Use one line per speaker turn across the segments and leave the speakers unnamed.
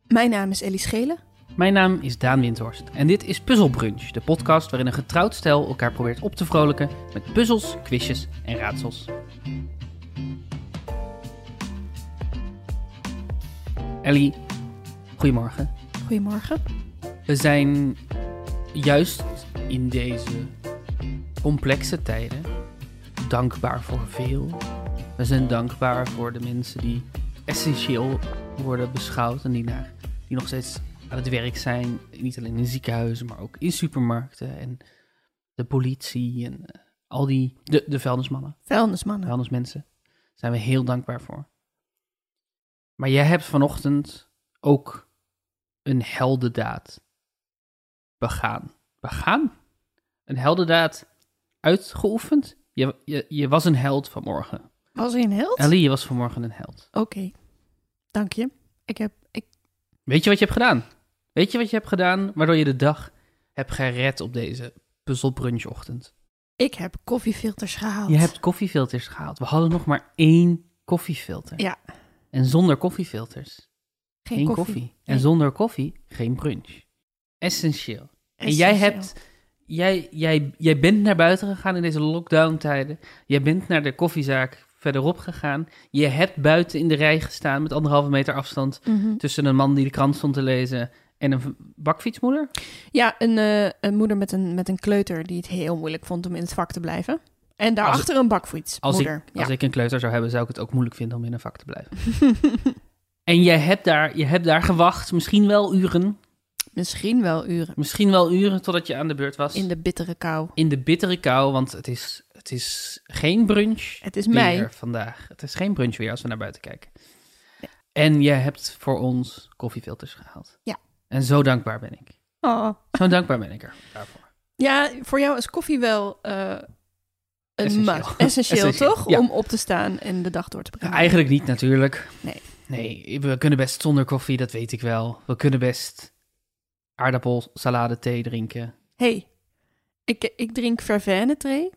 Mijn naam is Ellie Schelen.
Mijn naam is Daan Windhorst en dit is Puzzle Brunch, de podcast waarin een getrouwd stel elkaar probeert op te vrolijken met puzzels, quizjes en raadsels. Ellie, goedemorgen.
Goedemorgen.
We zijn juist in deze complexe tijden dankbaar voor veel. We zijn dankbaar voor de mensen die essentieel worden beschouwd en die, naar, die nog steeds aan het werk zijn. Niet alleen in ziekenhuizen, maar ook in supermarkten en de politie en eh, al die. De, de vuilnismannen,
Vuilnismannen.
vuilnismensen. Daar Nou, zijn we heel dankbaar voor. Maar jij hebt vanochtend ook een heldendaad begaan. Begaan? Een heldendaad uitgeoefend? Je, je, je was een held vanmorgen.
Was hij een held?
Ellie, je was vanmorgen een held.
Oké. Dank je. Ik heb... Ik,
Weet je wat je hebt gedaan? Weet je wat je hebt gedaan waardoor je de dag hebt gered op deze puzzelbrunchochtend?
ik heb koffiefilters gehaald.
Je hebt koffiefilters gehaald. We hadden nog maar één koffiefilter.
Ja.
En zonder koffiefilters
geen,
geen
koffie.
koffie. En
Nee.
zonder koffie geen brunch. Essentieel. En jij
Essentieel.
hebt... Jij, jij, jij bent naar buiten gegaan in deze lockdown-tijden. Jij bent naar de koffiezaak verderop gegaan. Je hebt buiten in de rij gestaan met anderhalve meter afstand...
Mhm.
tussen een man die de krant stond te lezen en een v- bakfietsmoeder.
Ja, een, eh, een moeder met een, met een kleuter die het heel moeilijk vond om in het vak te blijven. En daarachter een bakfiets.
Als,
moeder.
ik, als ik een kleuter zou hebben, zou ik het ook moeilijk vinden om in een vak te blijven. en jij hebt, daar, je hebt daar gewacht, misschien wel uren.
Misschien wel uren.
Misschien wel uren totdat je aan de beurt was.
In de bittere kou.
in de bittere kou, want het is, het is geen brunch
Het is
meer
mei.
vandaag. Het is geen brunch weer als we naar buiten kijken. En jij hebt voor ons koffiefilters gehaald.
Ja.
En zo dankbaar ben ik.
Oh.
Zo dankbaar ben ik er daarvoor.
Ja, voor jou is koffie wel eh, een
Essentieel.
must. Essentieel,
Essentieel,
toch?
ja.
Om op te staan en de dag door te brengen.
Eigenlijk niet natuurlijk.
Nee.
Nee, we kunnen best zonder koffie, dat weet ik wel. We kunnen best aardappelsalade thee drinken.
hey, ik, ik drink vervaine thee.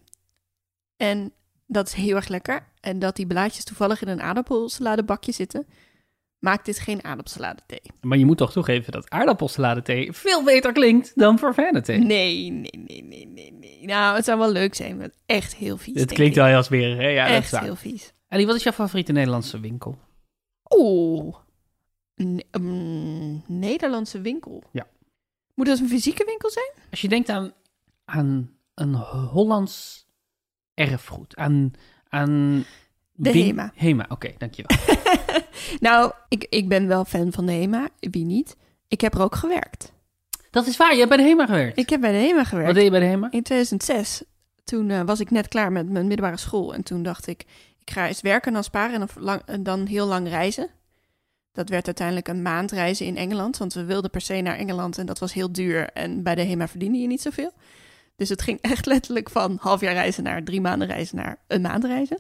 En dat is heel erg lekker. En dat die blaadjes toevallig in een aardappelsaladebakje zitten, maakt dit geen aardappelsalade thee.
Maar je moet toch toegeven dat aardappelsalade thee veel beter klinkt dan vervenne thee.
Nee, nee, nee, nee, nee, nee. Nou, het zou wel leuk zijn, maar echt heel vies.
Het
denk
klinkt
ik.
wel heel smerig, hè? Ja, dat is
echt
waar.
heel vies.
Ellie, wat is jouw favoriete Nederlandse winkel?
Oeh. Ne- mm, Nederlandse winkel.
Ja.
Moet dat een fysieke winkel zijn?
Als je denkt aan, aan een Hollands erfgoed, aan... aan
De
win-
Hema.
Hema, oké, dankjewel.
Nou, ik, ik ben wel fan van de HEMA. Wie niet? Ik heb er ook gewerkt.
dat is waar, je hebt bij de Hema gewerkt.
Ik heb bij de HEMA gewerkt.
Wat deed je bij de Hema?
In 2006, toen eh, was ik net klaar met mijn middelbare school. En toen dacht ik, ik ga eens werken en dan sparen en dan, lang- en dan heel lang reizen. Dat werd uiteindelijk een maand reizen in Engeland. Want we wilden per se naar Engeland en dat was heel duur. En bij de HEMA verdiende je niet zoveel. Dus het ging echt letterlijk van half jaar reizen naar drie maanden reizen naar een maand reizen.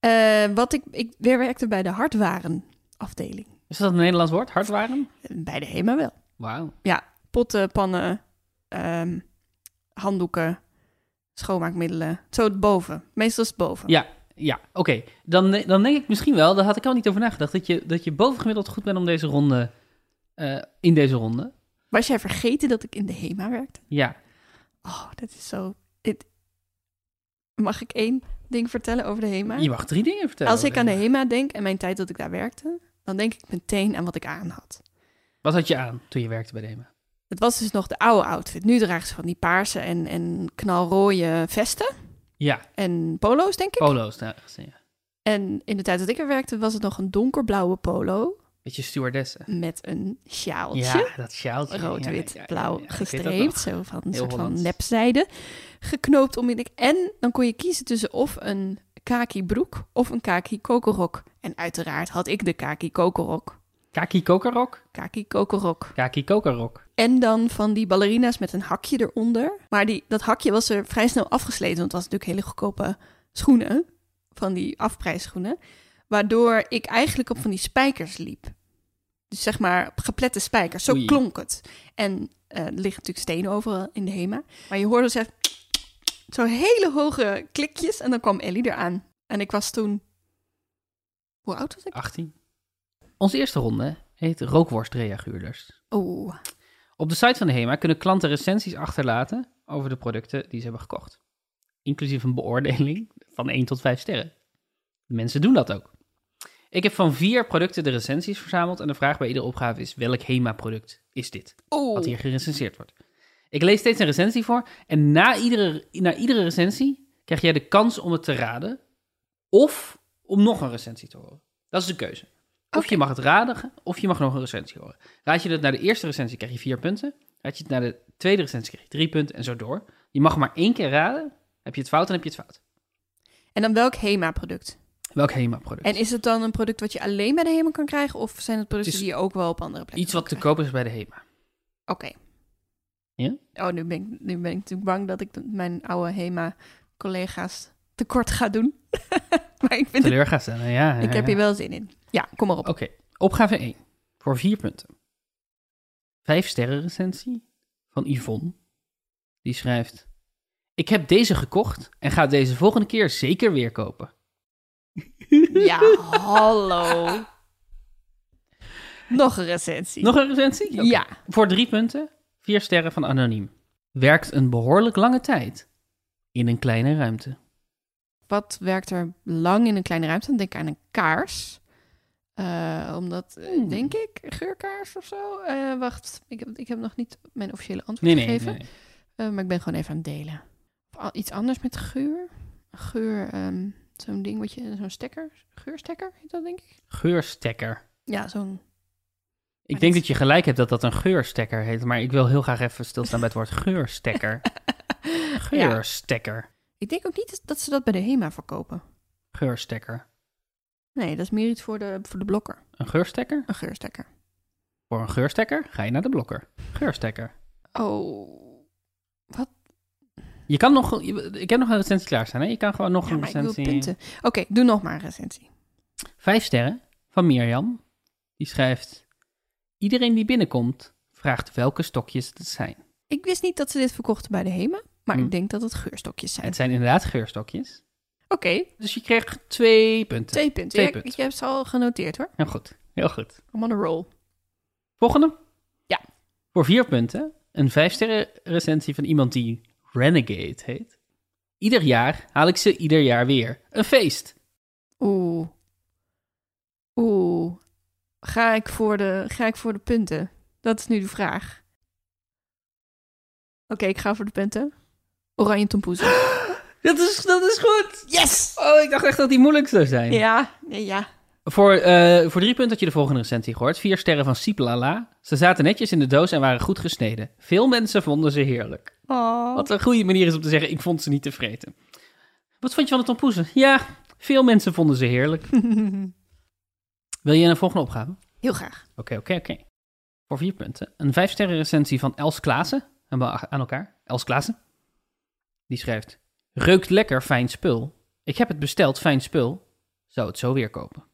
Eh, wat ik, ik weer werkte bij de hardwarenafdeling.
Is dat een Nederlands woord, hardwaren?
Bij de HEMA wel
Wauw.
potten, pannen, ehm, handdoeken, schoonmaakmiddelen. Zo het boven. Meestal is het boven.
Ja, ja oké. Dan, dan denk ik misschien wel, daar had ik al niet over nagedacht, dat je, dat je bovengemiddeld goed bent om deze ronde, eh, in deze ronde.
Was jij vergeten dat ik in de HEMA werkte?
Ja,
Oh, dat is zo... dit- Mag ik één ding vertellen over de HEMA?
je mag drie dingen vertellen.
Als ik aan de HEMA denk en mijn tijd dat ik daar werkte, dan denk ik meteen aan wat ik aan had.
Wat had je aan toen je werkte bij de Hema?
Het was dus nog de oude outfit. Nu dragen ze van die paarse en, en knalrooie vesten
Ja,
en polo's, denk ik.
polo's. Nou, ja.
En in de tijd dat ik er werkte, was het nog een donkerblauwe polo
Beetje stewardessen.
met een sjaaltje.
Ja, dat sjaaltje. Ja,
rood-wit,
ja, ja,
blauw
ja, ik weet dat
gestreept. Zo van een
Heel
soort van
Hollands.
nepzijde. Geknoopt om in de... En dan kon je kiezen tussen of een kaki broek of een kaki kokorok. En uiteraard had ik de kaki kokorok.
nog. Kaki kokerrok.
Kaki kokorok.
Kaki kokerrok.
En dan van die ballerina's met een hakje eronder. Maar die, dat hakje was er vrij snel afgesleten. Want het was natuurlijk hele goedkope schoenen. Van die afprijsschoenen. Waardoor ik eigenlijk op van die spijkers liep. Dus zeg maar geplette spijkers. Zo
Oei.
klonk het. En eh, er liggen natuurlijk stenen overal in de HEMA. Maar je hoorde dus echt zo hele hoge klikjes. En dan kwam Ellie eraan. En ik was toen... Hoe oud was ik?
18. Onze eerste ronde heet rookworstreaguurders.
Oeh,
Op de site van de HEMA kunnen klanten recensies achterlaten over de producten die ze hebben gekocht. Inclusief een beoordeling van 1 tot 5 sterren. Mensen doen dat ook. Ik heb van vier producten de recensies verzameld en de vraag bij iedere opgave is welk HEMA-product is dit?
oeh.
wat hier gerecenseerd wordt. Ik lees steeds een recensie voor en na iedere, na iedere recensie krijg jij de kans om het te raden of om nog een recensie te horen. Dat is de keuze. Of
Oké.
je mag het raden of je mag nog een recensie horen. Raad je het naar de eerste recensie krijg je vier punten. Raad je het naar de tweede recensie krijg je drie punten en zo door. Je mag maar één keer raden. Heb je het fout, dan heb je het fout.
En dan welk HEMA-product?
Welk HEMA-product?
En is het dan een product wat je alleen bij de HEMA kan krijgen? Of zijn het producten
Het is
die je ook wel op andere plekken
Iets wat te
kan
koop is bij de HEMA.
krijgen? Oké.
Ja?
Oh, nu ben, ik, nu ben ik natuurlijk bang dat ik de- mijn oude HEMA-collega's tekort ga doen. maar ik vind het...
Teleur gaan staan, ja. ja,
Ik heb
ja.
hier wel zin in. Ja, kom maar op.
Oké, opgave 1. Voor 4 punten. Vijf sterren recensie van Yvonne. Die schrijft... Ik heb deze gekocht en ga deze volgende keer zeker weer kopen.
Ja, hallo. Nog een recensie.
Nog een recensie? Oké.
Ja.
Voor 3 punten. Vier sterren van Anoniem. Werkt een behoorlijk lange tijd. In een kleine ruimte.
Wat werkt er lang in een kleine ruimte? Dan denk ik aan een kaars. Eh, omdat, eh,
Hmm.
denk ik, een geurkaars of zo. Eh, wacht, ik heb, ik heb nog niet mijn officiële antwoord
Nee, nee, nee.
gegeven.
nee.
Eh, maar ik ben gewoon even aan het delen. Of al- iets anders met geur. Geur, ehm, zo'n ding wat je, zo'n stekker, geurstekker heet dat denk ik.
Geurstekker.
Ja, zo'n...
Ik
Maar
denk
dat-
dat je gelijk hebt dat dat een geurstekker heet. Maar ik wil heel graag even stilstaan bij het woord geurstekker.
Ja.
Geurstekker.
Ik denk ook niet dat ze dat bij de HEMA verkopen.
Geurstekker.
Nee, dat is meer iets voor de, voor de blokker.
Een geurstekker?
Een geurstekker.
Voor een geurstekker ga je naar de blokker. Geurstekker.
Oh,
Je kan nog, ik heb nog een recensie klaarstaan. Hè? Je kan gewoon nog
ja,
een
maar ik wil
recensie.
punten. Oké, doe nog maar een recensie.
Vijf sterren van Mirjam. Die schrijft: Iedereen die binnenkomt vraagt welke stokjes het zijn.
Ik wist niet dat ze dit verkochten bij de HEMA, maar
Hm.
ik denk dat het geurstokjes zijn.
Het zijn inderdaad geurstokjes.
Oké,
Dus je kreeg twee punten.
twee punten.
Twee
Ja,
punten.
Ik, ik heb ze al genoteerd hoor.
Heel goed. Heel goed.
I'm on a roll.
Volgende.
Ja.
Voor vier punten. Een vijf sterren recensie van iemand die Renegade heet. Ieder jaar haal ik ze ieder jaar weer. Een feest.
Oeh. Oeh. Ga ik voor de, ga ik voor de punten? Dat is nu de vraag. Oké, ik ga voor de punten. Oranje tompoezen.
Dat is, dat is goed.
Yes!
Oh, ik dacht echt dat die moeilijk zou zijn.
Ja, nee, ja.
Voor, eh, voor drie punten had je de volgende recensie gehoord. Vier sterren van Siplala. Ze zaten netjes in de doos en waren goed gesneden. Veel mensen vonden ze heerlijk.
Oh.
Wat een goede manier is om te zeggen, ik vond ze niet te vreten. Wat vond je van de tompoezen? Ja, veel mensen vonden ze heerlijk. Wil je een volgende opgave? Oké,
Heel graag.
oké, oké. Voor vier punten. Een vijf sterren recensie van Els Klaassen. Hebben we Aan elkaar. Els Klaassen. Die schrijft... Reukt lekker, fijn spul. Ik heb het besteld, fijn spul. Zou het zo weer kopen.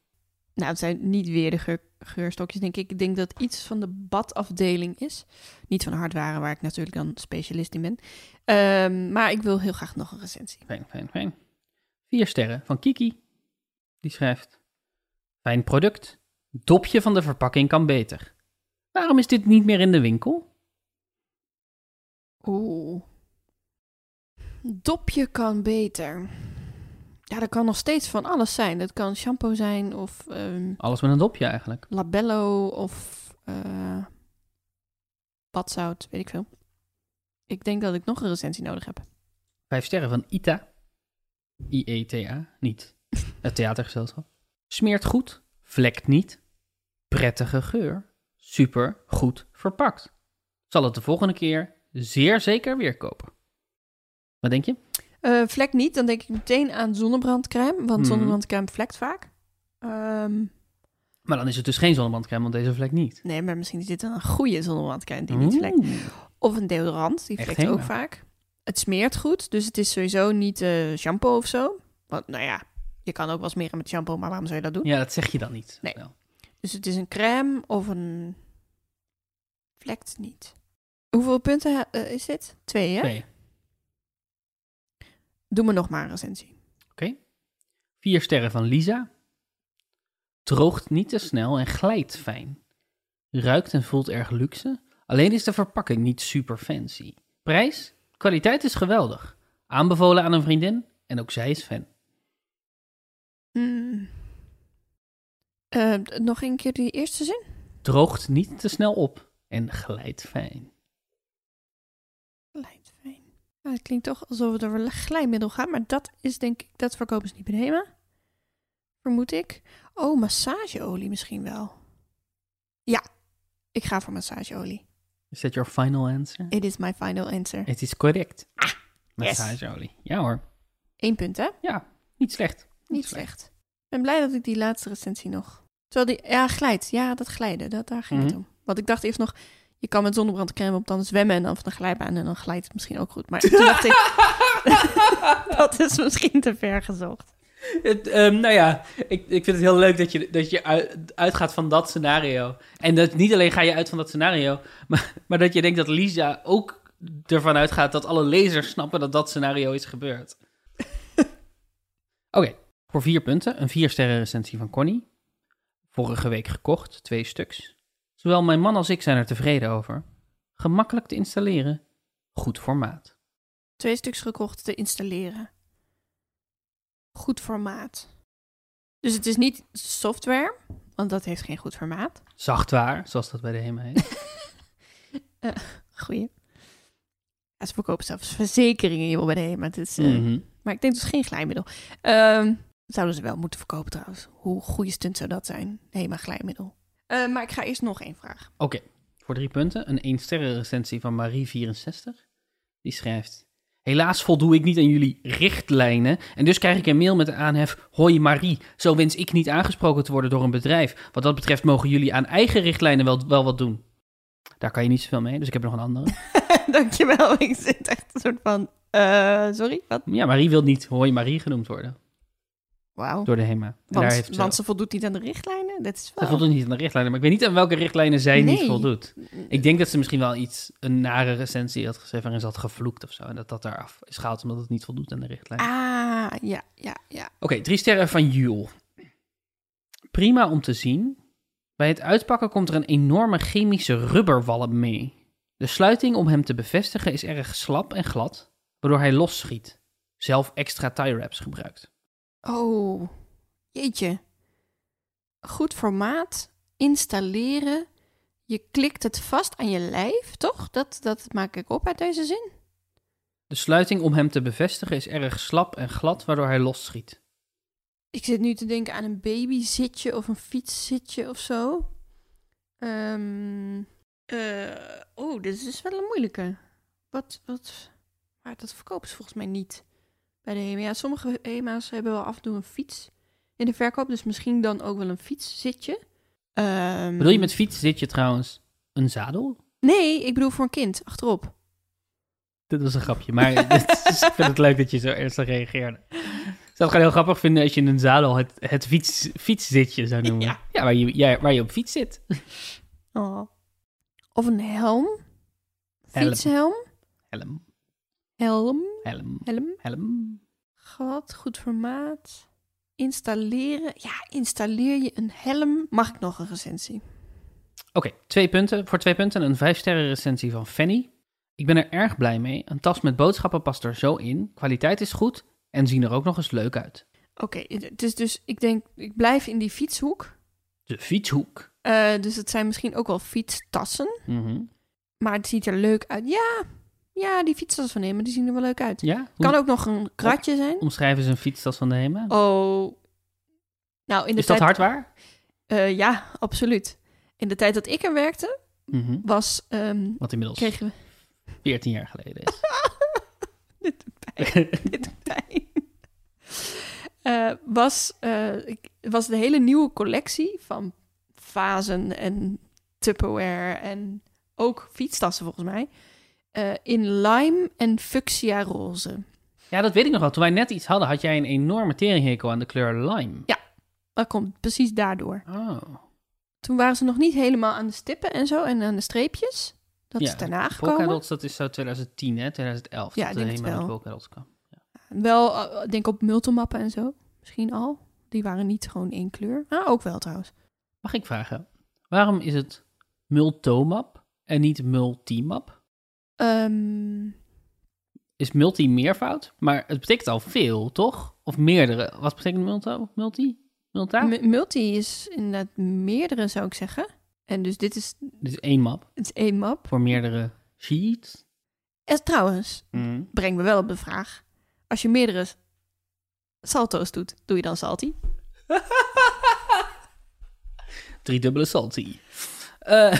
Nou, het zijn niet weer de geur- geurstokjes, denk ik. Ik denk dat iets van de badafdeling is. Niet van hardwaren, waar ik natuurlijk dan specialist in ben. Ehm, maar ik wil heel graag nog een recensie.
Fijn, fijn, fijn. Vier sterren van Kiki. Die schrijft: Fijn product. Dopje van de verpakking kan beter. Waarom is dit niet meer in de winkel?
Oeh. Dopje kan beter. Ja, dat kan nog steeds van alles zijn. Dat kan shampoo zijn of ehm,
Alles met een dopje eigenlijk.
labello of eh badzout, weet ik veel. Ik denk dat ik nog een recensie nodig heb.
Vijf sterren van Ita. I-E-T-A, niet. Het theatergezelschap. Smeert goed, vlekt niet. Prettige geur. Super goed verpakt. Zal het de volgende keer zeer zeker weer kopen. Wat denk je?
Eh, vlek niet, dan denk ik meteen aan zonnebrandcrème, want
Mhm.
zonnebrandcrème vlekt vaak. Ehm,
Maar dan is het dus geen zonnebrandcrème, want deze vlek niet.
nee, maar misschien is dit dan een goede zonnebrandcrème die niet vlekt.
Oeh.
Of een deodorant, die
Echt
vlekt ook
helemaal.
vaak. Het smeert goed, dus het is sowieso niet eh, shampoo of zo. Want nou ja, je kan ook wel smeren met shampoo, maar waarom zou je dat doen?
Ja, dat zeg je dan niet.
Nee.
Wel.
Dus het is een crème of een... Vlekt niet. Hoeveel punten ha- eh, is dit? Twee, hè?
Twee.
Doe me nog maar een recensie.
Vier sterren van Lisa. Droogt niet te snel en glijdt fijn. ruikt en voelt erg luxe. Alleen is de verpakking niet super fancy. Prijs? Kwaliteit is geweldig. Aanbevolen aan een vriendin en ook zij is fan.
Hmm. Eh, d- nog een keer die eerste zin?
Droogt niet te snel op en glijdt fijn.
Glijfijn. Nou, het klinkt toch alsof het over een glijmiddel gaat, maar dat is denk ik, dat verkopen ze niet bij de HEMA. Vermoed ik. Oh, massageolie misschien wel. Ja, ik ga voor massageolie.
Is dat your final answer?
It is my final answer.
Het is correct.
yes.
Massageolie. Ja hoor,
Eén punt, hè?
niet slecht.
Niet slecht. Ik ben blij dat ik die laatste recensie nog... Terwijl die... Ja, glijdt. Ja, dat glijden. Dat, daar ging het
Mhm.
om. Want ik dacht eerst nog... Je kan met zonnebrandcrème op dan zwemmen en dan van de glijbaan en dan glijdt het misschien ook goed. Maar toen dacht ik, dat is misschien te ver gezocht.
Het, ehm, nou ja, ik, ik vind het heel leuk dat je, dat je uit- uitgaat van dat scenario. En dat niet alleen ga je uit van dat scenario, maar, maar dat je denkt dat Lisa ook ervan uitgaat dat alle lezers snappen dat dat scenario is gebeurd. Oké, voor vier punten. Een viersterren recensie van Connie. Vorige week gekocht, twee stuks. Zowel mijn man als ik zijn er tevreden over. Gemakkelijk te installeren, goed formaat.
Twee stuks gekocht te installeren. Goed formaat. Dus het is niet software, want dat heeft geen goed formaat.
Zachtwaar, zoals dat bij de HEMA heet.
Eh, Goeie. Ja, ze verkopen zelfs verzekeringen hier wel bij de HEMA. Het is, eh,
Mhm.
Maar ik denk dus geen glijmiddel. Ehm, zouden ze wel moeten verkopen trouwens. Hoe goede stunt zou dat zijn? Hema glijmiddel. Eh, maar ik ga eerst nog één vraag.
Oké, voor drie punten. Een 1 sterren recensie van Marie64. Die schrijft... Helaas voldoe ik niet aan jullie richtlijnen en dus krijg ik een mail met de aanhef Hoi Marie, zo wens ik niet aangesproken te worden door een bedrijf. Wat dat betreft mogen jullie aan eigen richtlijnen wel, wel wat doen. Daar kan je niet zoveel mee, dus ik heb nog een andere.
Dankjewel. Ik zit echt een soort van... eh, sorry, wat?
Ja, Marie wil niet Hoi Marie genoemd worden
Wauw.
door de HEMA. En daar heeft
Want,
ze,
want ze voldoet niet aan de richtlijnen. Dat is
ze
wel...
voldoet niet aan de richtlijnen, maar ik weet niet aan welke richtlijnen zij niet
Nee.
voldoet. Ik denk dat ze misschien wel iets, een nare recensie had geschreven waarin ze had gevloekt of zo. En dat dat daar af is gehaald omdat het niet voldoet aan de richtlijn.
Ah, ja, ja, ja.
Oké, drie sterren van Jules. Prima om te zien. Bij het uitpakken komt er een enorme chemische rubberwalm mee. De sluiting om hem te bevestigen is erg slap en glad, waardoor hij losschiet. Zelf extra tie wraps gebruikt.
Oh, jeetje. Goed formaat, installeren. Je klikt het vast aan je lijf, toch? Dat, dat maak ik op uit deze zin.
De sluiting om hem te bevestigen is erg slap en glad, waardoor hij losschiet.
Ik zit nu te denken aan een babyzitje of een fietszitje of zo. Ehm eh, oh, dit is wel een moeilijke. Wat, wat, maar dat verkopen ze volgens mij niet bij de HEMA. Ja, sommige HEMA's hebben wel af en toe een fiets in de verkoop, dus misschien dan ook wel een fietszitje. Ehm,
Bedoel je met fiets zit je trouwens een zadel?
Nee, ik bedoel voor een kind, achterop.
Dit was een grapje, maar dit is- ik vind het leuk dat je zo ernstig reageerde. Ik zou het gewoon heel grappig vinden als je in een zadel het, het fiets, fietszitje zou noemen.
Ja.
waar, je, ja, waar je op fiets zit.
Oh. Of een helm.
Helm.
Fietshelm.
Helm,
Helm.
helm,
Helm.
helm.
Gat, goed formaat. Installeren. Ja, installeer je een helm. Mag ik nog een recensie?
Oké, twee punten. Voor twee punten een vijfsterren recensie van Fanny. Ik ben er erg blij mee. Een tas met boodschappen past er zo in. Kwaliteit is goed en zien er ook nog eens leuk uit.
Oké, het is dus, ik denk, ik blijf in die fietshoek.
De fietshoek.
Eh, dus het zijn misschien ook wel fietstassen.
Mhm.
Maar het ziet er leuk uit. Ja, ja die fietstassen van nemen, die zien er wel leuk uit.
Ja? Hoe
Kan ook nog een kratje zijn.
omschrijven ze een fietstas van de HEMA?
Oh. Nou, in de
is dat
tijd,
hardwaar?
eh, ja, absoluut. In de tijd dat ik er werkte,
Mhm.
was, ehm,
Wat inmiddels
kregen we...
14 jaar geleden is.
Dit doet pijn. dit doet pijn. Eh, was, eh, ik- was de hele nieuwe collectie van vazen en Tupperware en ook fietstassen volgens mij. eh, in lime en fuchsia roze.
Ja, dat weet ik nog wel. Toen wij net iets hadden, had jij een enorme teringhekel aan de kleur lime.
Dat komt precies daardoor.
Oh.
Toen waren ze nog niet helemaal aan de stippen en zo en aan de streepjes. Dat
Ja,
is daarna gekomen.
Polkadots, dat is zo 2010, hè? 2011.
Ja, ik
dat
denk
de
het
HEMA met
wel.
polkadots kwam.
Wel, eh, denk op multimappen en zo. Misschien al. Die waren niet gewoon één kleur. Ah, ook wel trouwens.
Mag ik vragen, waarom is het multomap en niet multimap.
Ehm,
Is multi meervoud, maar het betekent al veel, toch? Of meerdere. Wat betekent multo? Multi? Multa?
mu- multi is inderdaad meerdere, zou ik zeggen. En dus dit is,
dus één map
het is één map.
voor meerdere sheets.
En trouwens, breng me wel op de vraag. Als je meerdere s- salto's doet, doe je dan salty?
Drie dubbele salty. Eh,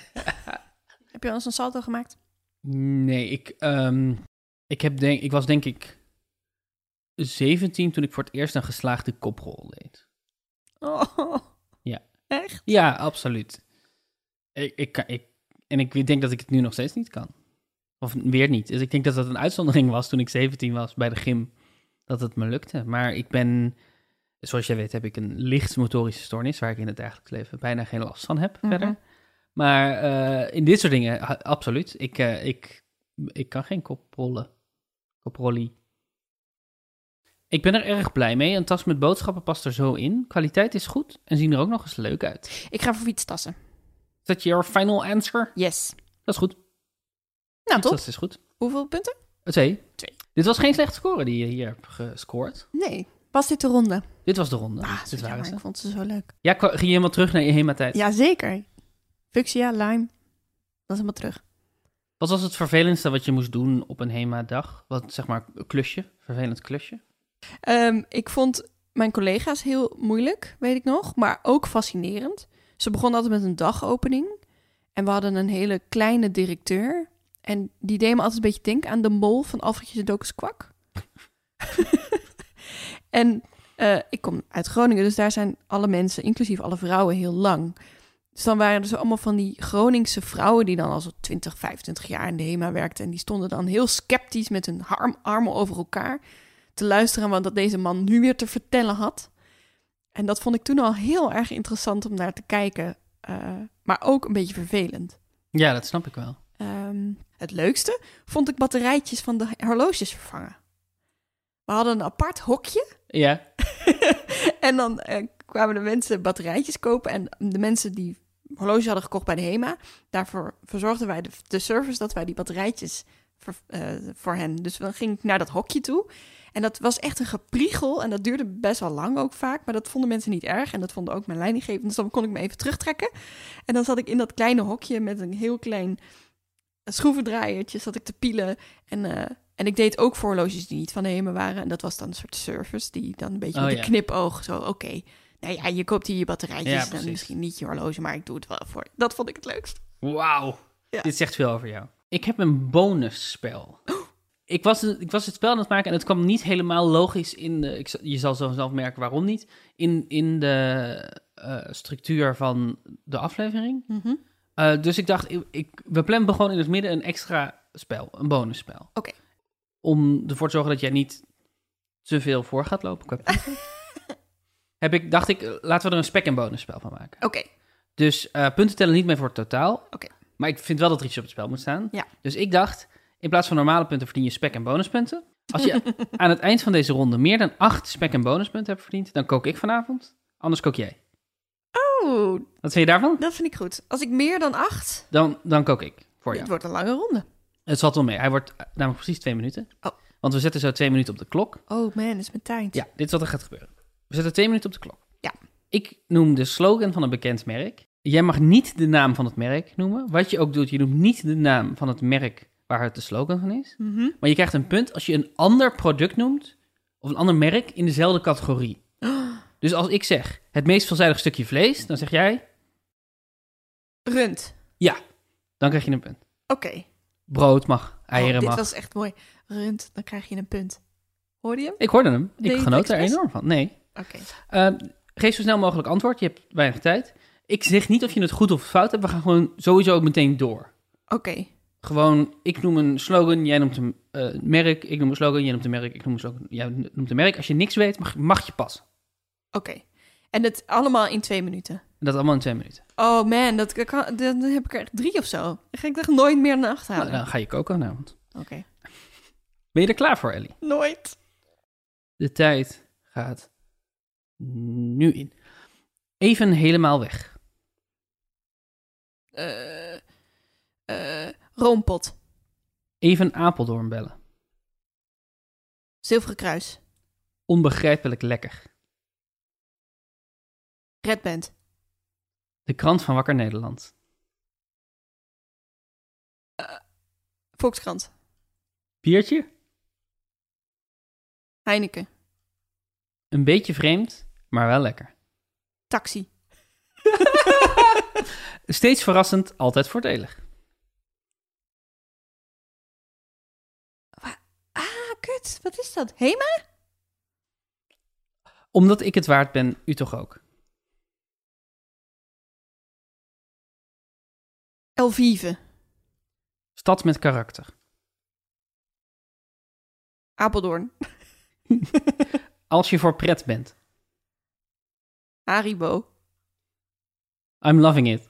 Heb je al eens een salto gemaakt?
nee, ik, ehm, ik, heb denk, ik was denk ik 17 toen ik voor het eerst een geslaagde koprol deed.
Oh.
Ja.
Echt?
Ja, absoluut. Ik, ik, kan- ik, en ik denk dat ik het nu nog steeds niet kan. Of weer niet. Dus ik denk dat dat een uitzondering was toen ik 17 was bij de gym. Dat het me lukte. Maar ik ben, zoals jij weet, heb ik een licht motorische stoornis. Waar ik in het dagelijks leven bijna geen last van heb
Mhm.
verder. Maar eh, in dit soort dingen, ha- absoluut. Ik, eh, ik, ik kan geen koprollen. Koprollie. Ik ben er erg blij mee. Een tas met boodschappen past er zo in. Kwaliteit is goed en zien er ook nog eens leuk uit.
Ik ga voor fietstassen.
Is dat your final answer?
Yes.
Dat is goed.
Nou, top.
Dat is goed.
Hoeveel punten?
Een Twee.
Twee.
Dit was geen slechte score die je hier hebt gescoord.
Nee. Was dit de ronde?
Dit was de ronde.
Ah,
Dit
jammer,
waren ze.
ik vond ze zo leuk.
Ja, kwa- ging je helemaal terug naar je HEMA-tijd.
Jazeker. Fuchsia, lime. Dat is helemaal terug.
Wat was het vervelendste wat je moest doen op een HEMA-dag? Wat, zeg maar, een klusje? Vervelend klusje?
Ehm, ik vond mijn collega's heel moeilijk, weet ik nog. Maar ook fascinerend. Ze begonnen altijd met een dagopening. En we hadden een hele kleine directeur. En die deed me altijd een beetje denken aan de mol van Alfredje de Dokus Kwak. en eh, ik kom uit Groningen, dus daar zijn alle mensen, inclusief alle vrouwen, heel lang. Dus dan waren er zo allemaal van die Groningse vrouwen die dan al zo 20, 25 jaar in de HEMA werkten. En die stonden dan heel sceptisch met hun arm, armen over elkaar te luisteren aan wat deze man nu weer te vertellen had. En dat vond ik toen al heel erg interessant om naar te kijken, eh, maar ook een beetje vervelend.
Ja, dat snap ik wel.
Ehm, het leukste vond ik batterijtjes van de horloges vervangen. We hadden een apart hokje
Ja.
en dan eh, kwamen de mensen batterijtjes kopen. En de mensen die horloges hadden gekocht bij de HEMA, daarvoor verzorgden wij de, de service dat wij die batterijtjes ver- eh, voor hen. Dus dan ging ik naar dat hokje toe. En dat was echt een gepriegel en dat duurde best wel lang ook vaak. Maar dat vonden mensen niet erg en dat vonden ook mijn leidinggevende. Dus dan kon ik me even terugtrekken. En dan zat ik in dat kleine hokje met een heel klein schroevendraaiertje zat ik te pielen. En, eh, en ik deed ook voor horloges die niet van de HEMA waren. En dat was dan een soort service die dan een beetje
Oh,
met
ja.
een knipoog zo, oké. Nou ja, je koopt hier je
Ja,
batterijtjes en
precies.
misschien niet je horloge, maar ik doe het wel voor. Dat vond ik het leukst.
Wauw.
Ja.
Dit zegt veel over jou. Ik heb een bonusspel. Ik was, ik was het spel aan het maken en het kwam niet helemaal logisch in de... Ik, zal- je zal zo zelf merken waarom niet. In, in de eh, structuur van de aflevering.
Mhm.
Eh, dus ik dacht, ik, ik- we plannen gewoon in het midden een extra spel, een bonusspel.
Oké.
Om ervoor te zorgen dat jij niet te veel voor gaat lopen. qua punten. Heb ik, dacht ik, eh, laten we er een spek- en bonusspel van maken.
Oké,
Dus eh, punten tellen niet mee voor het totaal.
Oké.
Maar ik vind wel dat er iets op het spel moet staan.
Ja.
Dus ik dacht, in plaats van normale punten verdien je spek- en bonuspunten. Als je aan het eind van deze ronde meer dan acht spek- en bonuspunten hebt verdiend, dan kook ik vanavond. Anders kook jij.
Oeh,
Wat vind je daarvan?
Oh, dat vind ik goed. Als ik meer dan acht,
Dan, dan kook ik voor jou.
dit wordt een lange ronde.
Het zat wel mee. Hij wordt eh, namelijk precies twee minuten.
Oh.
Want we zetten zo twee minuten op de klok.
Oh man, is mijn tijd.
Ja, dit is wat er gaat gebeuren. We zetten twee minuten op de klok.
Ja.
Ik noem de slogan van een bekend merk. Jij mag niet de naam van het merk noemen. Wat je ook doet, je noemt niet de naam van het merk waar het de slogan van is.
Mhm.
Maar je krijgt een punt als je een ander product noemt of een ander merk in dezelfde categorie.
Oh,
Dus als ik zeg het meest veelzijdig stukje vlees, dan zeg jij,
Rund.
dan krijg je een punt.
Oké.
Ah, Brood mag,
Oh,
eieren
dit
mag.
was echt mooi. Rund, dan krijg je een punt. Hoorde je hem?
Ik hoorde hem.
Deed
Ik
je het
genoot er
expres?
enorm van. Nee.
Oké.
Eh, geef zo snel mogelijk antwoord. Je hebt weinig tijd. Ik zeg niet of je het goed of fout hebt. We gaan gewoon sowieso ook meteen door.
Oké.
Gewoon, ik noem een slogan, jij noemt een eh, merk. Ik noem een slogan, jij noemt een merk. Ik noem een slogan, jij noemt een merk. Als je niks weet, mag, mag je passen.
Oké. En het allemaal in twee minuten.
En dat allemaal in twee minuten.
Oh man, dat dat kan, dan heb ik er echt drie of zo. Dan ga ik echt nooit meer naar acht
Nou,
halen.
dan ga je koken vanavond.
Oké.
Ben je er klaar voor, Ellie?
Nooit.
De tijd gaat nu in. Even helemaal weg.
eh, eh, roompot.
Even Apeldoorn bellen.
Zilveren Kruis.
Onbegrijpelijk lekker.
Red Band.
De krant van Wakker Nederland.
Volkskrant.
Biertje?
Heineken.
Een beetje vreemd, maar wel lekker.
Taxi.
Steeds verrassend, altijd voordelig.
ah, kut. Wat is dat? Hema?
Omdat ik het waard ben, u toch ook.
Elvive.
Stad met karakter.
Apeldoorn.
Als je voor pret bent.
Haribo.
I'm loving it.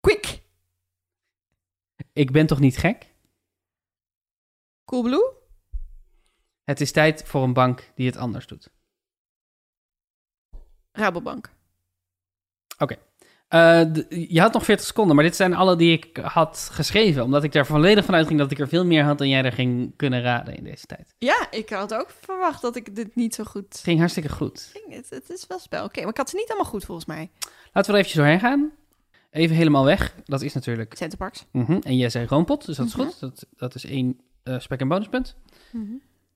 Quick.
Ik ben toch niet gek?
Coolblue.
Het is tijd voor een bank die het anders doet.
Rabobank.
Eh, d- je had nog 40 seconden, maar dit zijn alle die ik had geschreven. Omdat ik er volledig van uitging dat ik er veel meer had dan jij er ging kunnen raden in deze tijd.
Ja, ik had ook verwacht dat ik dit niet zo goed
Het ging hartstikke goed.
ging. Het, het is wel spel. Oké, maar ik had ze niet allemaal goed volgens mij.
Laten we er eventjes doorheen gaan. Even helemaal weg. Dat is natuurlijk.
Centerparks.
Mhm. En jij zei roompot, dus dat is
Mhm.
goed. Dat, dat is één eh, spek- en bonuspunt.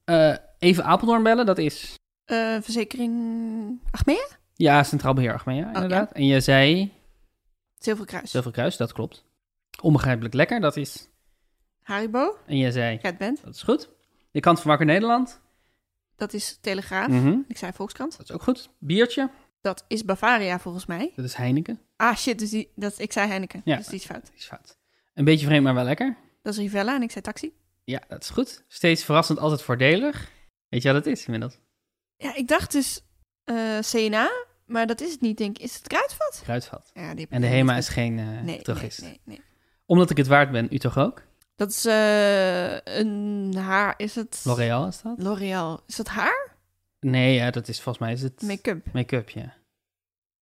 Eh, even Apeldoorn bellen, dat is.
Eh, verzekering Achmea?
Ja, Centraal Beheer Achmea,
Oh,
inderdaad. En jij zei
Zilveren Kruis.
Zilveren Kruis, dat klopt. Onbegrijpelijk lekker, dat is.
Haribo.
En jij zei,
Red Band.
dat is goed. De kant van Wakker Nederland,
Dat is Telegraaf.
Mhm.
Ik zei Volkskrant.
dat is ook goed. Biertje,
Dat is Bavaria volgens mij.
dat is Heineken,
Ah shit, dus die, dat, ik zei Heineken.
Ja.
Dus die is fout.
dat is fout. Een beetje vreemd, maar wel lekker.
Dat is Rivella en ik zei taxi.
Ja, dat is goed. Steeds verrassend, altijd voordelig. Weet je wat het is inmiddels?
Ja, ik dacht dus eh, CNA, maar dat is het niet, denk ik. Is het Kruidvat?
Kruidvat.
Ja, die heb
En de
ik
HEMA
niet
is geen eh
goed. nee, nee,
drogist.
nee, nee.
Omdat ik het waard ben, u toch ook?
Dat is eh, een haar, is het...
L'Oreal is dat?
L'Oreal. Is dat haar?
Nee, ja, dat is volgens mij is het
Make-up.
make-up, ja.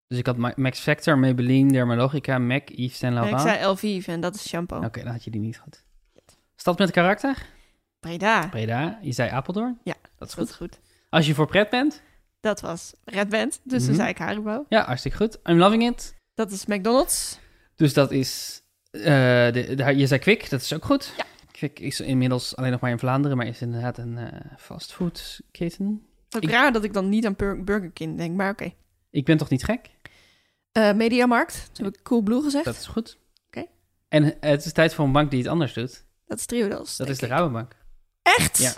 Dus ik had Ma- Max Factor, Maybelline, Dermalogica, MAC, Yves Saint
Nee,
Laurent.
ik zei Elvive en dat is shampoo.
Oké, dan had je die niet goed. Stad met karakter?
Breda. Dat
Breda. Je zei Apeldoorn?
Ja,
dat is
was
goed.
goed.
Als je voor pret bent?
Dat was Red Band, dus toen
Mhm.
zei ik Haribo.
Ja, hartstikke goed. I'm loving it.
Dat is McDonald's.
Dus dat is... eh, de, de- je zei Kwik, dat is ook goed.
Ja.
Kwik is inmiddels alleen nog maar in Vlaanderen, maar is inderdaad een eh fastfoodketen.
Ook
Ik-
raar dat ik dan niet aan Bur- Burger King denk, maar oké.
Ik ben toch niet gek?
Eh, Mediamarkt, toen heb ik Coolblue gezegd.
Dat is goed.
Oké.
En het is tijd voor een bank die het anders doet.
Dat is Triodos.
Dat
denk
is de
ik.
Rabobank.
Echt?
Ja.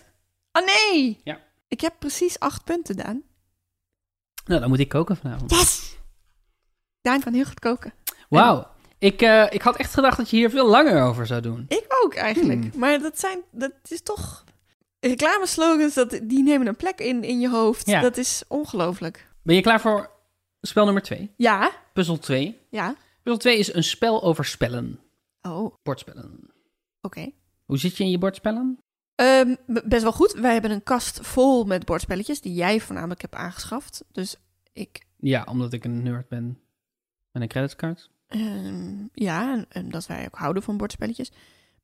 Oh nee!
Ja.
Ik heb precies acht punten, Daan.
Nou, dan moet ik koken vanavond.
Yes! Daan kan heel goed koken.
Wauw. Ik, eh, ik had echt gedacht dat je hier veel langer over zou doen.
Ik ook eigenlijk.
Hmm.
Maar dat zijn, dat is toch... Reclameslogans, dat, die nemen een plek in, in je hoofd.
Ja.
Dat is ongelooflijk.
Ben je klaar voor spel nummer 2?
Ja,
Puzzel 2.
ja.
Puzzel 2 is een spel over spellen.
Oh, oké.
Bordspellen. Hoe zit je in je bordspellen?
Ehm, b- best wel goed. Wij hebben een kast vol met bordspelletjes die jij voornamelijk hebt aangeschaft. Dus ik,
Ja, omdat ik een nerd ben. Met een creditcard.
ehm, ja, en, en dat wij ook houden van bordspelletjes.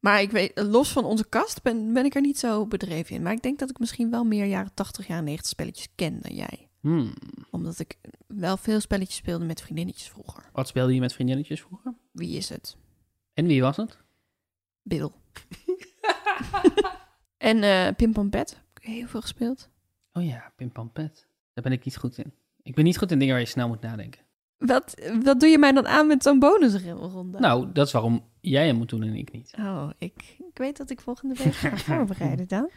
Maar ik weet, los van onze kast ben, ben ik er niet zo bedreven in. Maar ik denk dat ik misschien wel meer jaren 80, jaren 90 spelletjes ken dan jij.
Hmm.
Omdat ik wel veel spelletjes speelde met vriendinnetjes vroeger.
Wat speelde je met vriendinnetjes vroeger?
Wie is het?
En wie was het?
Bill. en eh Pim Pam Pet heb ik heel veel gespeeld.
Oh ja, Pimpampet. Daar ben ik niet goed in. Ik ben niet goed in dingen waar je snel moet nadenken.
Wat, wat doe je mij dan aan met zo'n bonusronde?
Nou, dat is waarom jij hem moet doen en ik niet.
Oh, ik, ik weet dat ik volgende week ga voorbereiden dan.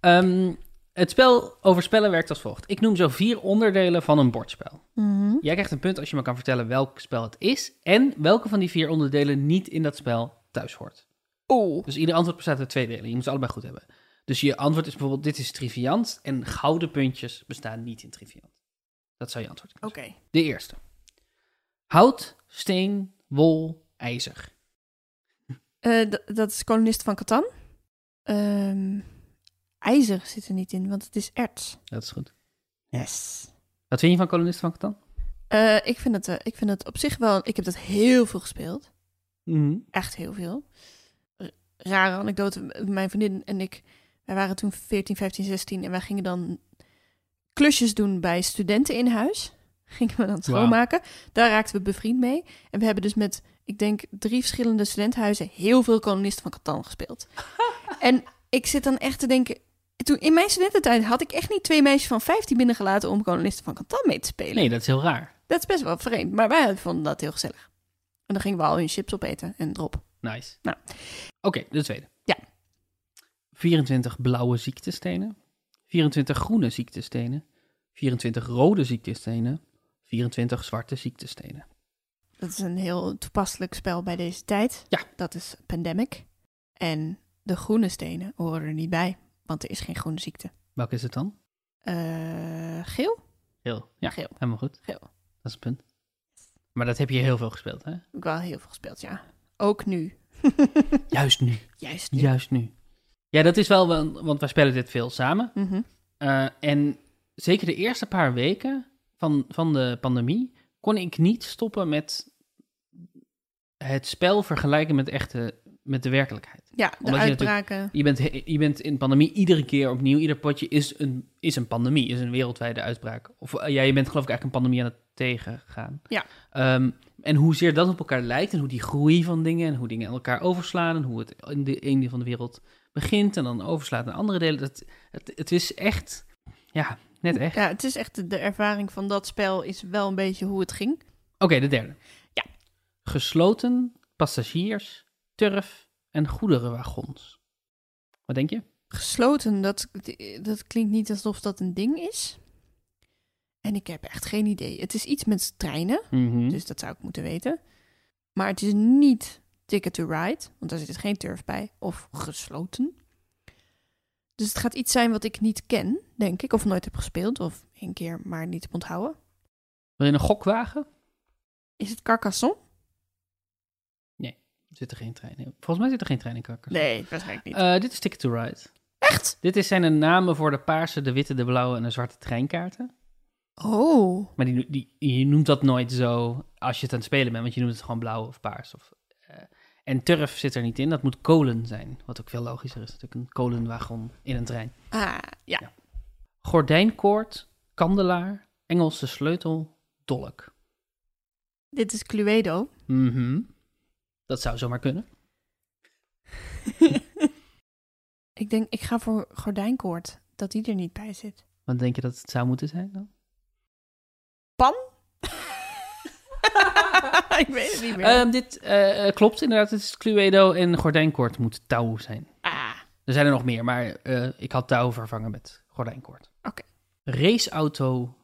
Ehm, het spel over spellen werkt als volgt. Ik noem zo vier onderdelen van een bordspel.
Mhm.
Jij krijgt een punt als je me kan vertellen welk spel het is en welke van die vier onderdelen niet in dat spel thuis hoort.
Oh,
Dus ieder antwoord bestaat uit twee delen. Je moet ze allebei goed hebben. Dus je antwoord is bijvoorbeeld dit is triviant en gouden puntjes bestaan niet in triviant. Dat zou je antwoord
oké.
kunnen zijn. De eerste. Hout, steen, wol, ijzer.
Eh, d- dat is kolonist van Catan. Ehm, ijzer zit er niet in, want het is erts.
Dat is goed.
Yes.
Wat vind je van kolonist van Catan?
Eh, ik, vind het, eh, ik vind het op zich wel... Ik heb dat heel veel gespeeld.
Mhm.
Echt heel veel. R- Rare anekdote. Mijn vriendin en ik, wij waren toen 14, 15, 16. En wij gingen dan klusjes doen bij studenten in huis. Gingen we dan schoonmaken. Daar raakten we bevriend mee. En we hebben dus met, ik denk, drie verschillende studentenhuizen... heel veel kolonisten van Catan gespeeld. en ik zit dan echt te denken... Toen, in mijn studententijd had ik echt niet twee meisjes van 15 binnengelaten... om kolonisten van Catan mee te spelen.
Nee, dat is heel raar.
Dat is best wel vreemd. Maar wij vonden dat heel gezellig. En dan gingen we al hun chips opeten en drop.
Nice.
Nou.
Oké, de tweede.
Ja.
24 blauwe ziektestenen. 24 groene ziektestenen. 24 rode ziektestenen. 24 zwarte ziektestenen.
Dat is een heel toepasselijk spel bij deze tijd.
Ja.
Dat is Pandemic. En de groene stenen horen er niet bij, want er is geen groene ziekte.
Welke is het dan?
Eh, geel?
Geel. Ja,
Geel.
helemaal goed.
Geel.
Dat is een punt. Maar dat heb je heel veel gespeeld, hè?
Heb ik wel heel veel gespeeld, ja. Ook nu.
Juist nu.
Juist nu.
Juist nu. Ja, dat is wel, wel- want wij spelen dit veel samen.
Mhm.
Eh, en zeker de eerste paar weken van, van de pandemie kon ik niet stoppen met het spel vergelijken met, echte, met de werkelijkheid.
Ja, de
Omdat je
uitbraken.
Je bent, he- je bent in pandemie iedere keer opnieuw, ieder potje is een, is een pandemie, is een wereldwijde uitbraak. Of eh, ja, je bent geloof ik eigenlijk een pandemie aan het tegengaan.
Ja.
Ehm, en hoezeer dat op elkaar lijkt en hoe die groei van dingen en hoe dingen elkaar overslaan en hoe het in de ene van de wereld begint en dan overslaat naar andere delen. Dat, het, het is echt, ja, net echt.
Ja, het is echt de ervaring van dat spel is wel een beetje hoe het ging.
Oké, de derde.
Ja.
Gesloten, passagiers, turf en goederenwagons. Wat denk je?
Gesloten, dat, dat klinkt niet alsof dat een ding is. En ik heb echt geen idee. Het is iets met treinen.
Hm?
Dus dat zou ik moeten weten. Maar het is niet Ticket to Ride, want daar zit dus geen turf bij. Of gesloten. Dus het gaat iets zijn wat ik niet ken, denk ik. Of nooit heb gespeeld. Of één keer maar niet heb onthouden.
Wil je een gokwagen?
Is het Carcassonne?
Zit er geen trein in? Volgens mij zit er geen trein in Kakkers.
Nee, waarschijnlijk niet.
Eh, dit is Ticket to Ride.
Echt?
Dit is, zijn de namen voor de paarse, de witte, de blauwe en de zwarte treinkaarten.
Oh.
Maar die, die, je noemt dat nooit zo als je het aan het spelen bent, want je noemt het gewoon blauw of paars. Of, eh, en turf zit er niet in, dat moet kolen zijn. Wat ook veel logischer is, natuurlijk een kolenwagon in een trein.
Ah, ja.
Gordijnkoord, kandelaar, Engelse sleutel, dolk.
Dit is Cluedo.
Mhm. Dat zou zomaar kunnen.
ik denk, ik ga voor gordijnkoord. Dat die er niet bij zit.
Wat denk je dat het zou moeten zijn dan?
Pan? ik weet het niet meer.
Ehm, dit eh, klopt inderdaad, het is Cluedo en gordijnkoord moet touw zijn.
ah.
Er zijn er nog meer, maar eh, ik had touw vervangen met gordijnkoord.
Oké.
Raceauto,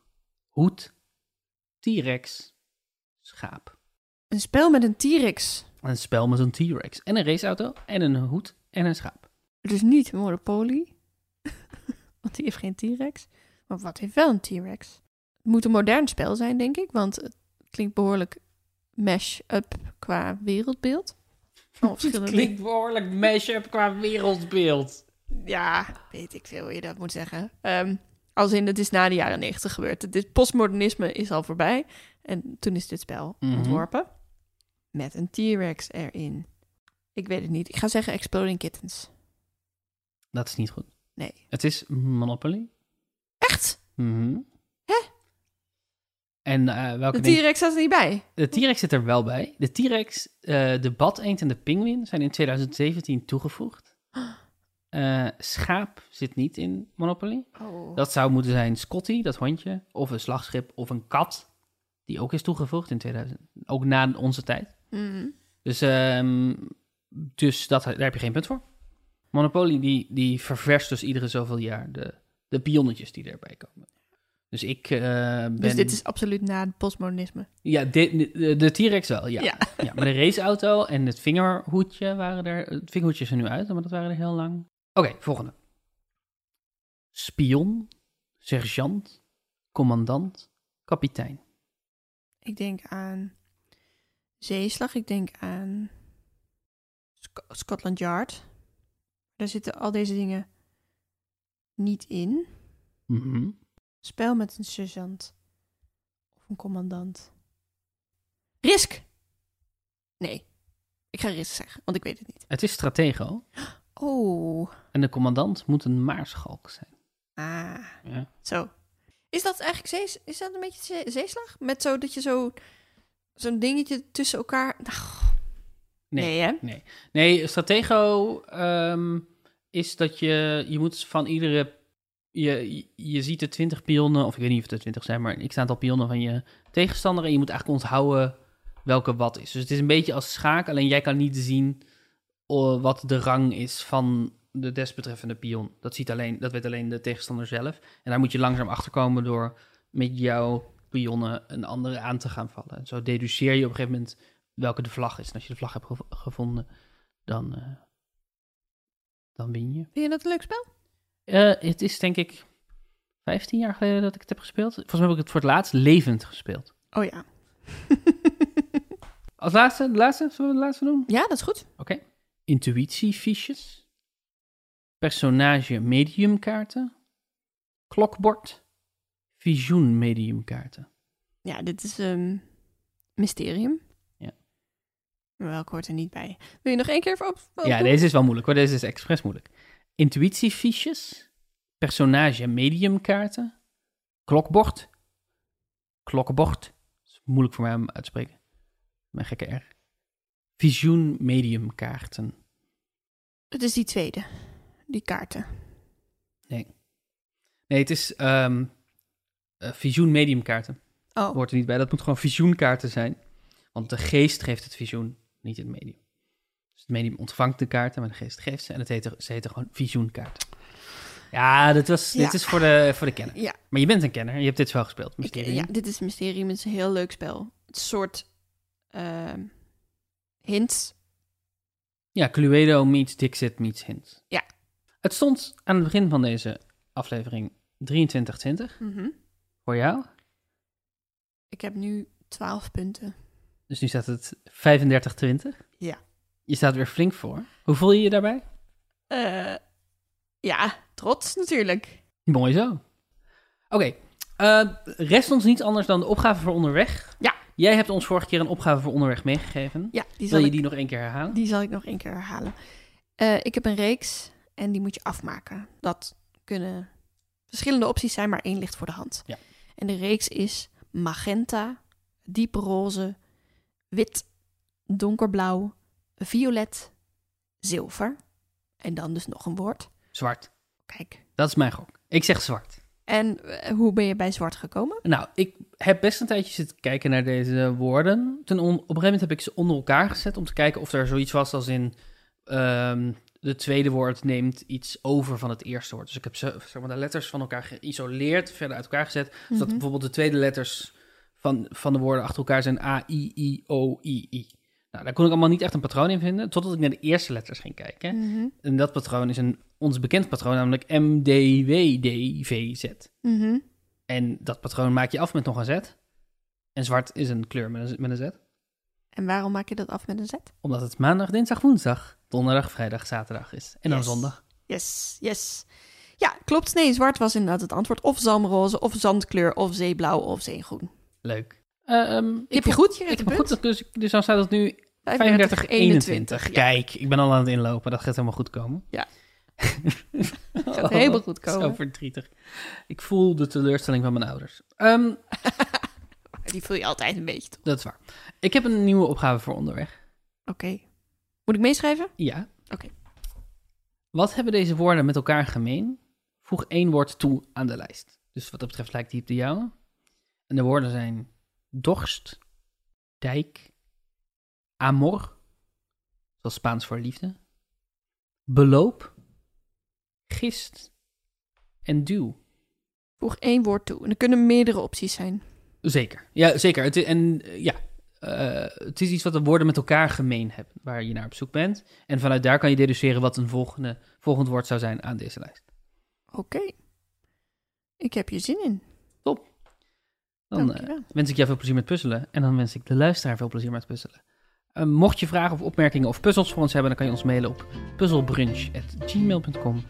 hoed, T-Rex, schaap.
Een spel met een T-Rex.
Een spel met een T-Rex en een raceauto en een hoed en een schaap.
Dus niet Monopoly. want die heeft geen T-Rex. Maar wat heeft wel een T-Rex? Het moet een modern spel zijn, denk ik. Want het klinkt behoorlijk mash-up qua wereldbeeld. Van Oh, verschillende
behoorlijk mashup qua wereldbeeld.
Ja, weet ik veel hoe je dat moet zeggen. Ehm, als in, het is na de jaren negentig gebeurd. Het is- postmodernisme is al voorbij. En toen is dit spel
Mhm.
ontworpen. Met een T-Rex erin. Ik weet het niet. Ik ga zeggen Exploding Kittens.
Dat is niet goed.
Nee.
Het is Monopoly.
Echt?
Mhm.
Hè?
En eh, welke
De
denk-
T-Rex zat er niet bij.
De T-Rex zit er wel bij. De T-Rex, eh, de badeend en de pinguïn zijn in 2017 toegevoegd. Eh, schaap zit niet in Monopoly.
Oh.
Dat zou moeten zijn Scotty, dat hondje, of een slagschip, of een kat, die ook is toegevoegd in 2000, ook na onze tijd.
Mhm.
Dus, ehm, dus dat, daar heb je geen punt voor. Monopoly die, die ververst dus iedere zoveel jaar de, de pionnetjes die erbij komen. Dus ik eh, ben...
Dus dit is absoluut na het postmodernisme.
Ja, dit- de, de T-Rex wel, ja.
Ja.
ja. Maar de raceauto en het vingerhoedje waren er... Het vingerhoedje is er nu uit, maar dat waren er heel lang. Oké, volgende. Spion, sergeant, commandant, kapitein.
Ik denk aan Zeeslag. Ik denk aan Sc- Scotland Yard. Daar zitten al deze dingen niet in.
Mhm.
Spel met een sergeant. Of een commandant. Risk! Nee, ik ga risk zeggen, want ik weet het niet.
Het is stratego.
Oh,
En de commandant moet een maarschalk zijn.
ah,
Ja.
zo. Is dat eigenlijk zees, is dat een beetje zee- zeeslag? Met zo dat je zo zo'n dingetje tussen elkaar. nou, Ach,
Nee.
nee. hè?
Nee, stratego ehm, is dat je, je moet van iedere, je, je ziet de 20 pionnen, of ik weet niet of het er 20 zijn, maar ik sta aantal pionnen van je tegenstander en je moet eigenlijk onthouden welke wat is. Dus het is een beetje als schaak, alleen jij kan niet zien oh, wat de rang is van de desbetreffende pion. Dat, ziet alleen, dat weet alleen de tegenstander zelf. En daar moet je langzaam achterkomen door met jouw pionnen een andere aan te gaan vallen. Zo deduceer je op een gegeven moment welke de vlag is. En als je de vlag hebt gev- gevonden, dan, eh, dan win je.
Vind je dat een leuk spel?
Eh, het is denk ik 15 jaar geleden dat ik het heb gespeeld. Volgens mij heb ik het voor het laatst levend gespeeld.
Oh ja.
Als laatste, de laatste, zullen we de laatste doen?
ja, dat is goed.
Oké. Intuïtiefiches. Personage mediumkaarten. Klokbord. Visioen mediumkaarten.
Ja, dit is ehm mysterium.
Ja.
Maar welke hoort er niet bij? Wil je nog één keer even op? op-
Ja,
doen?
deze is wel moeilijk hoor. Deze is expres moeilijk. Intuïtiefiches. Personage mediumkaarten. Klokbord. Klokkenbord. Dat is moeilijk voor mij om uit te spreken. Mijn gekke R. Visioen mediumkaarten.
Het is die tweede. Die kaarten.
Nee, het is ehm eh, visioen mediumkaarten.
Oh,
hoort er niet bij. Dat moet gewoon visioenkaarten zijn. Want de geest geeft het visioen, niet het medium. Dus het medium ontvangt de kaarten, maar de geest geeft ze. En het heet, ze heten gewoon visioenkaarten. Ja, dit, was,
Ja.
dit is voor de, voor de kenner.
ja.
Maar je bent een kenner, je hebt dit wel gespeeld.
Ik,
Mysterie.
ja, dit is Mysterium. Het is een heel leuk spel. Het is een soort ehm hints.
Ja, Cluedo meets Dixit meets Hint.
Ja.
Het stond aan het begin van deze aflevering 2320
Mhm.
voor jou.
Ik heb nu 12 punten.
Dus nu staat het 3520.
Ja.
Je staat weer flink voor. Hoe voel je je daarbij?
Eh, ja, trots natuurlijk.
Mooi zo. Oké, eh, rest ons niets anders dan de opgave voor onderweg.
Ja.
Jij hebt ons vorige keer een opgave voor onderweg meegegeven.
Ja, die zal,
Wil je
ik,
die nog één keer herhalen?
die zal ik nog één keer herhalen. Eh, ik heb een reeks en die moet je afmaken. Dat kunnen verschillende opties zijn, maar één ligt voor de hand.
Ja.
En de reeks is magenta, dieproze, wit, donkerblauw, violet, zilver. En dan dus nog een woord.
Zwart.
Kijk.
Dat is mijn gok. Ik zeg zwart.
En eh, hoe ben je bij zwart gekomen?
Nou, ik heb best een tijdje zitten kijken naar deze woorden. Ten on- op een gegeven moment heb ik ze onder elkaar gezet om te kijken of er zoiets was als in ehm de tweede woord neemt iets over van het eerste woord. Dus ik heb ze, zeg maar, de letters van elkaar geïsoleerd, verder uit elkaar gezet. Zodat
Mhm.
Dus bijvoorbeeld de tweede letters van, van de woorden achter elkaar zijn A, I, I, O, I, I. Nou, daar kon ik allemaal niet echt een patroon in vinden, totdat ik naar de eerste letters ging kijken.
Mhm.
En dat patroon is een ons bekend patroon, namelijk M, D, W, D, V, Z.
Mhm.
En dat patroon maak je af met nog een Z. En zwart is een kleur met een, met een Z.
En waarom maak je dat af met een Z?
Omdat het maandag, dinsdag, woensdag, donderdag, vrijdag, zaterdag is. En dan
Yes.
zondag.
Yes, yes. Ja, klopt. Nee, zwart was inderdaad het antwoord. Of zalmroze, of zandkleur, of zeeblauw, of zeegroen.
Leuk. Eh, ehm,
Ik heb je
vond-
goed, je
Ik
redt
heb
een punt.
goed, dus, dus dan staat het nu 35,
35,
21.
Ja,
Kijk, ik ben al aan het inlopen. Dat gaat helemaal goed komen.
Ja.
gaat
gaat helemaal goed
Zo
komen.
verdrietig. Ik voel de teleurstelling van mijn ouders. Ehm,
Die voel je altijd een beetje, toch?
dat is waar. Ik heb een nieuwe opgave voor onderweg.
Oké. Moet ik meeschrijven?
Ja.
Oké.
Wat hebben deze woorden met elkaar gemeen? Voeg één woord toe aan de lijst. Dus wat dat betreft lijkt die op de jouwe. En de woorden zijn dorst, dijk, amor, zoals Spaans voor liefde, beloop, gist en duw.
Voeg één woord toe. En er kunnen meerdere opties zijn.
Zeker, ja zeker. Het, i- en eh, ja, eh, het is iets wat de woorden met elkaar gemeen hebben, waar je naar op zoek bent. En vanuit daar kan je deduceren wat een volgende, volgend woord zou zijn aan deze lijst.
Oké. Ik heb je zin in.
Dan eh,
Dankjewel.
wens ik jou veel plezier met puzzelen. En dan wens ik de luisteraar veel plezier met puzzelen. Eh, mocht je vragen of opmerkingen of puzzels voor ons hebben, dan kan je ons mailen op puzzelbrunch.gmail.com.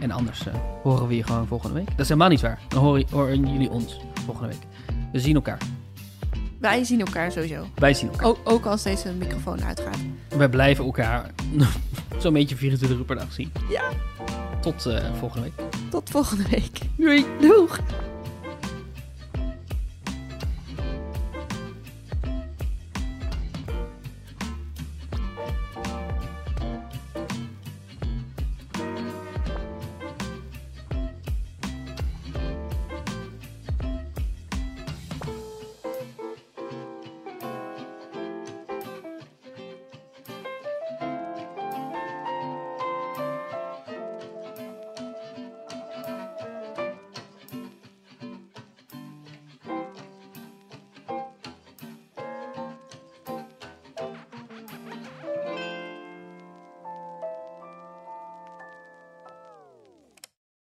En anders eh, horen we je gewoon volgende week. Dat is helemaal niet waar. Dan horen, horen jullie ons volgende week. We zien elkaar.
Wij zien elkaar sowieso.
Wij zien elkaar.
Ook, ook als deze microfoon uitgaat.
Wij blijven elkaar zo'n beetje 24 uur per dag zien.
Ja.
Tot eh, volgende week.
Tot volgende week.
Doei!
Doeg!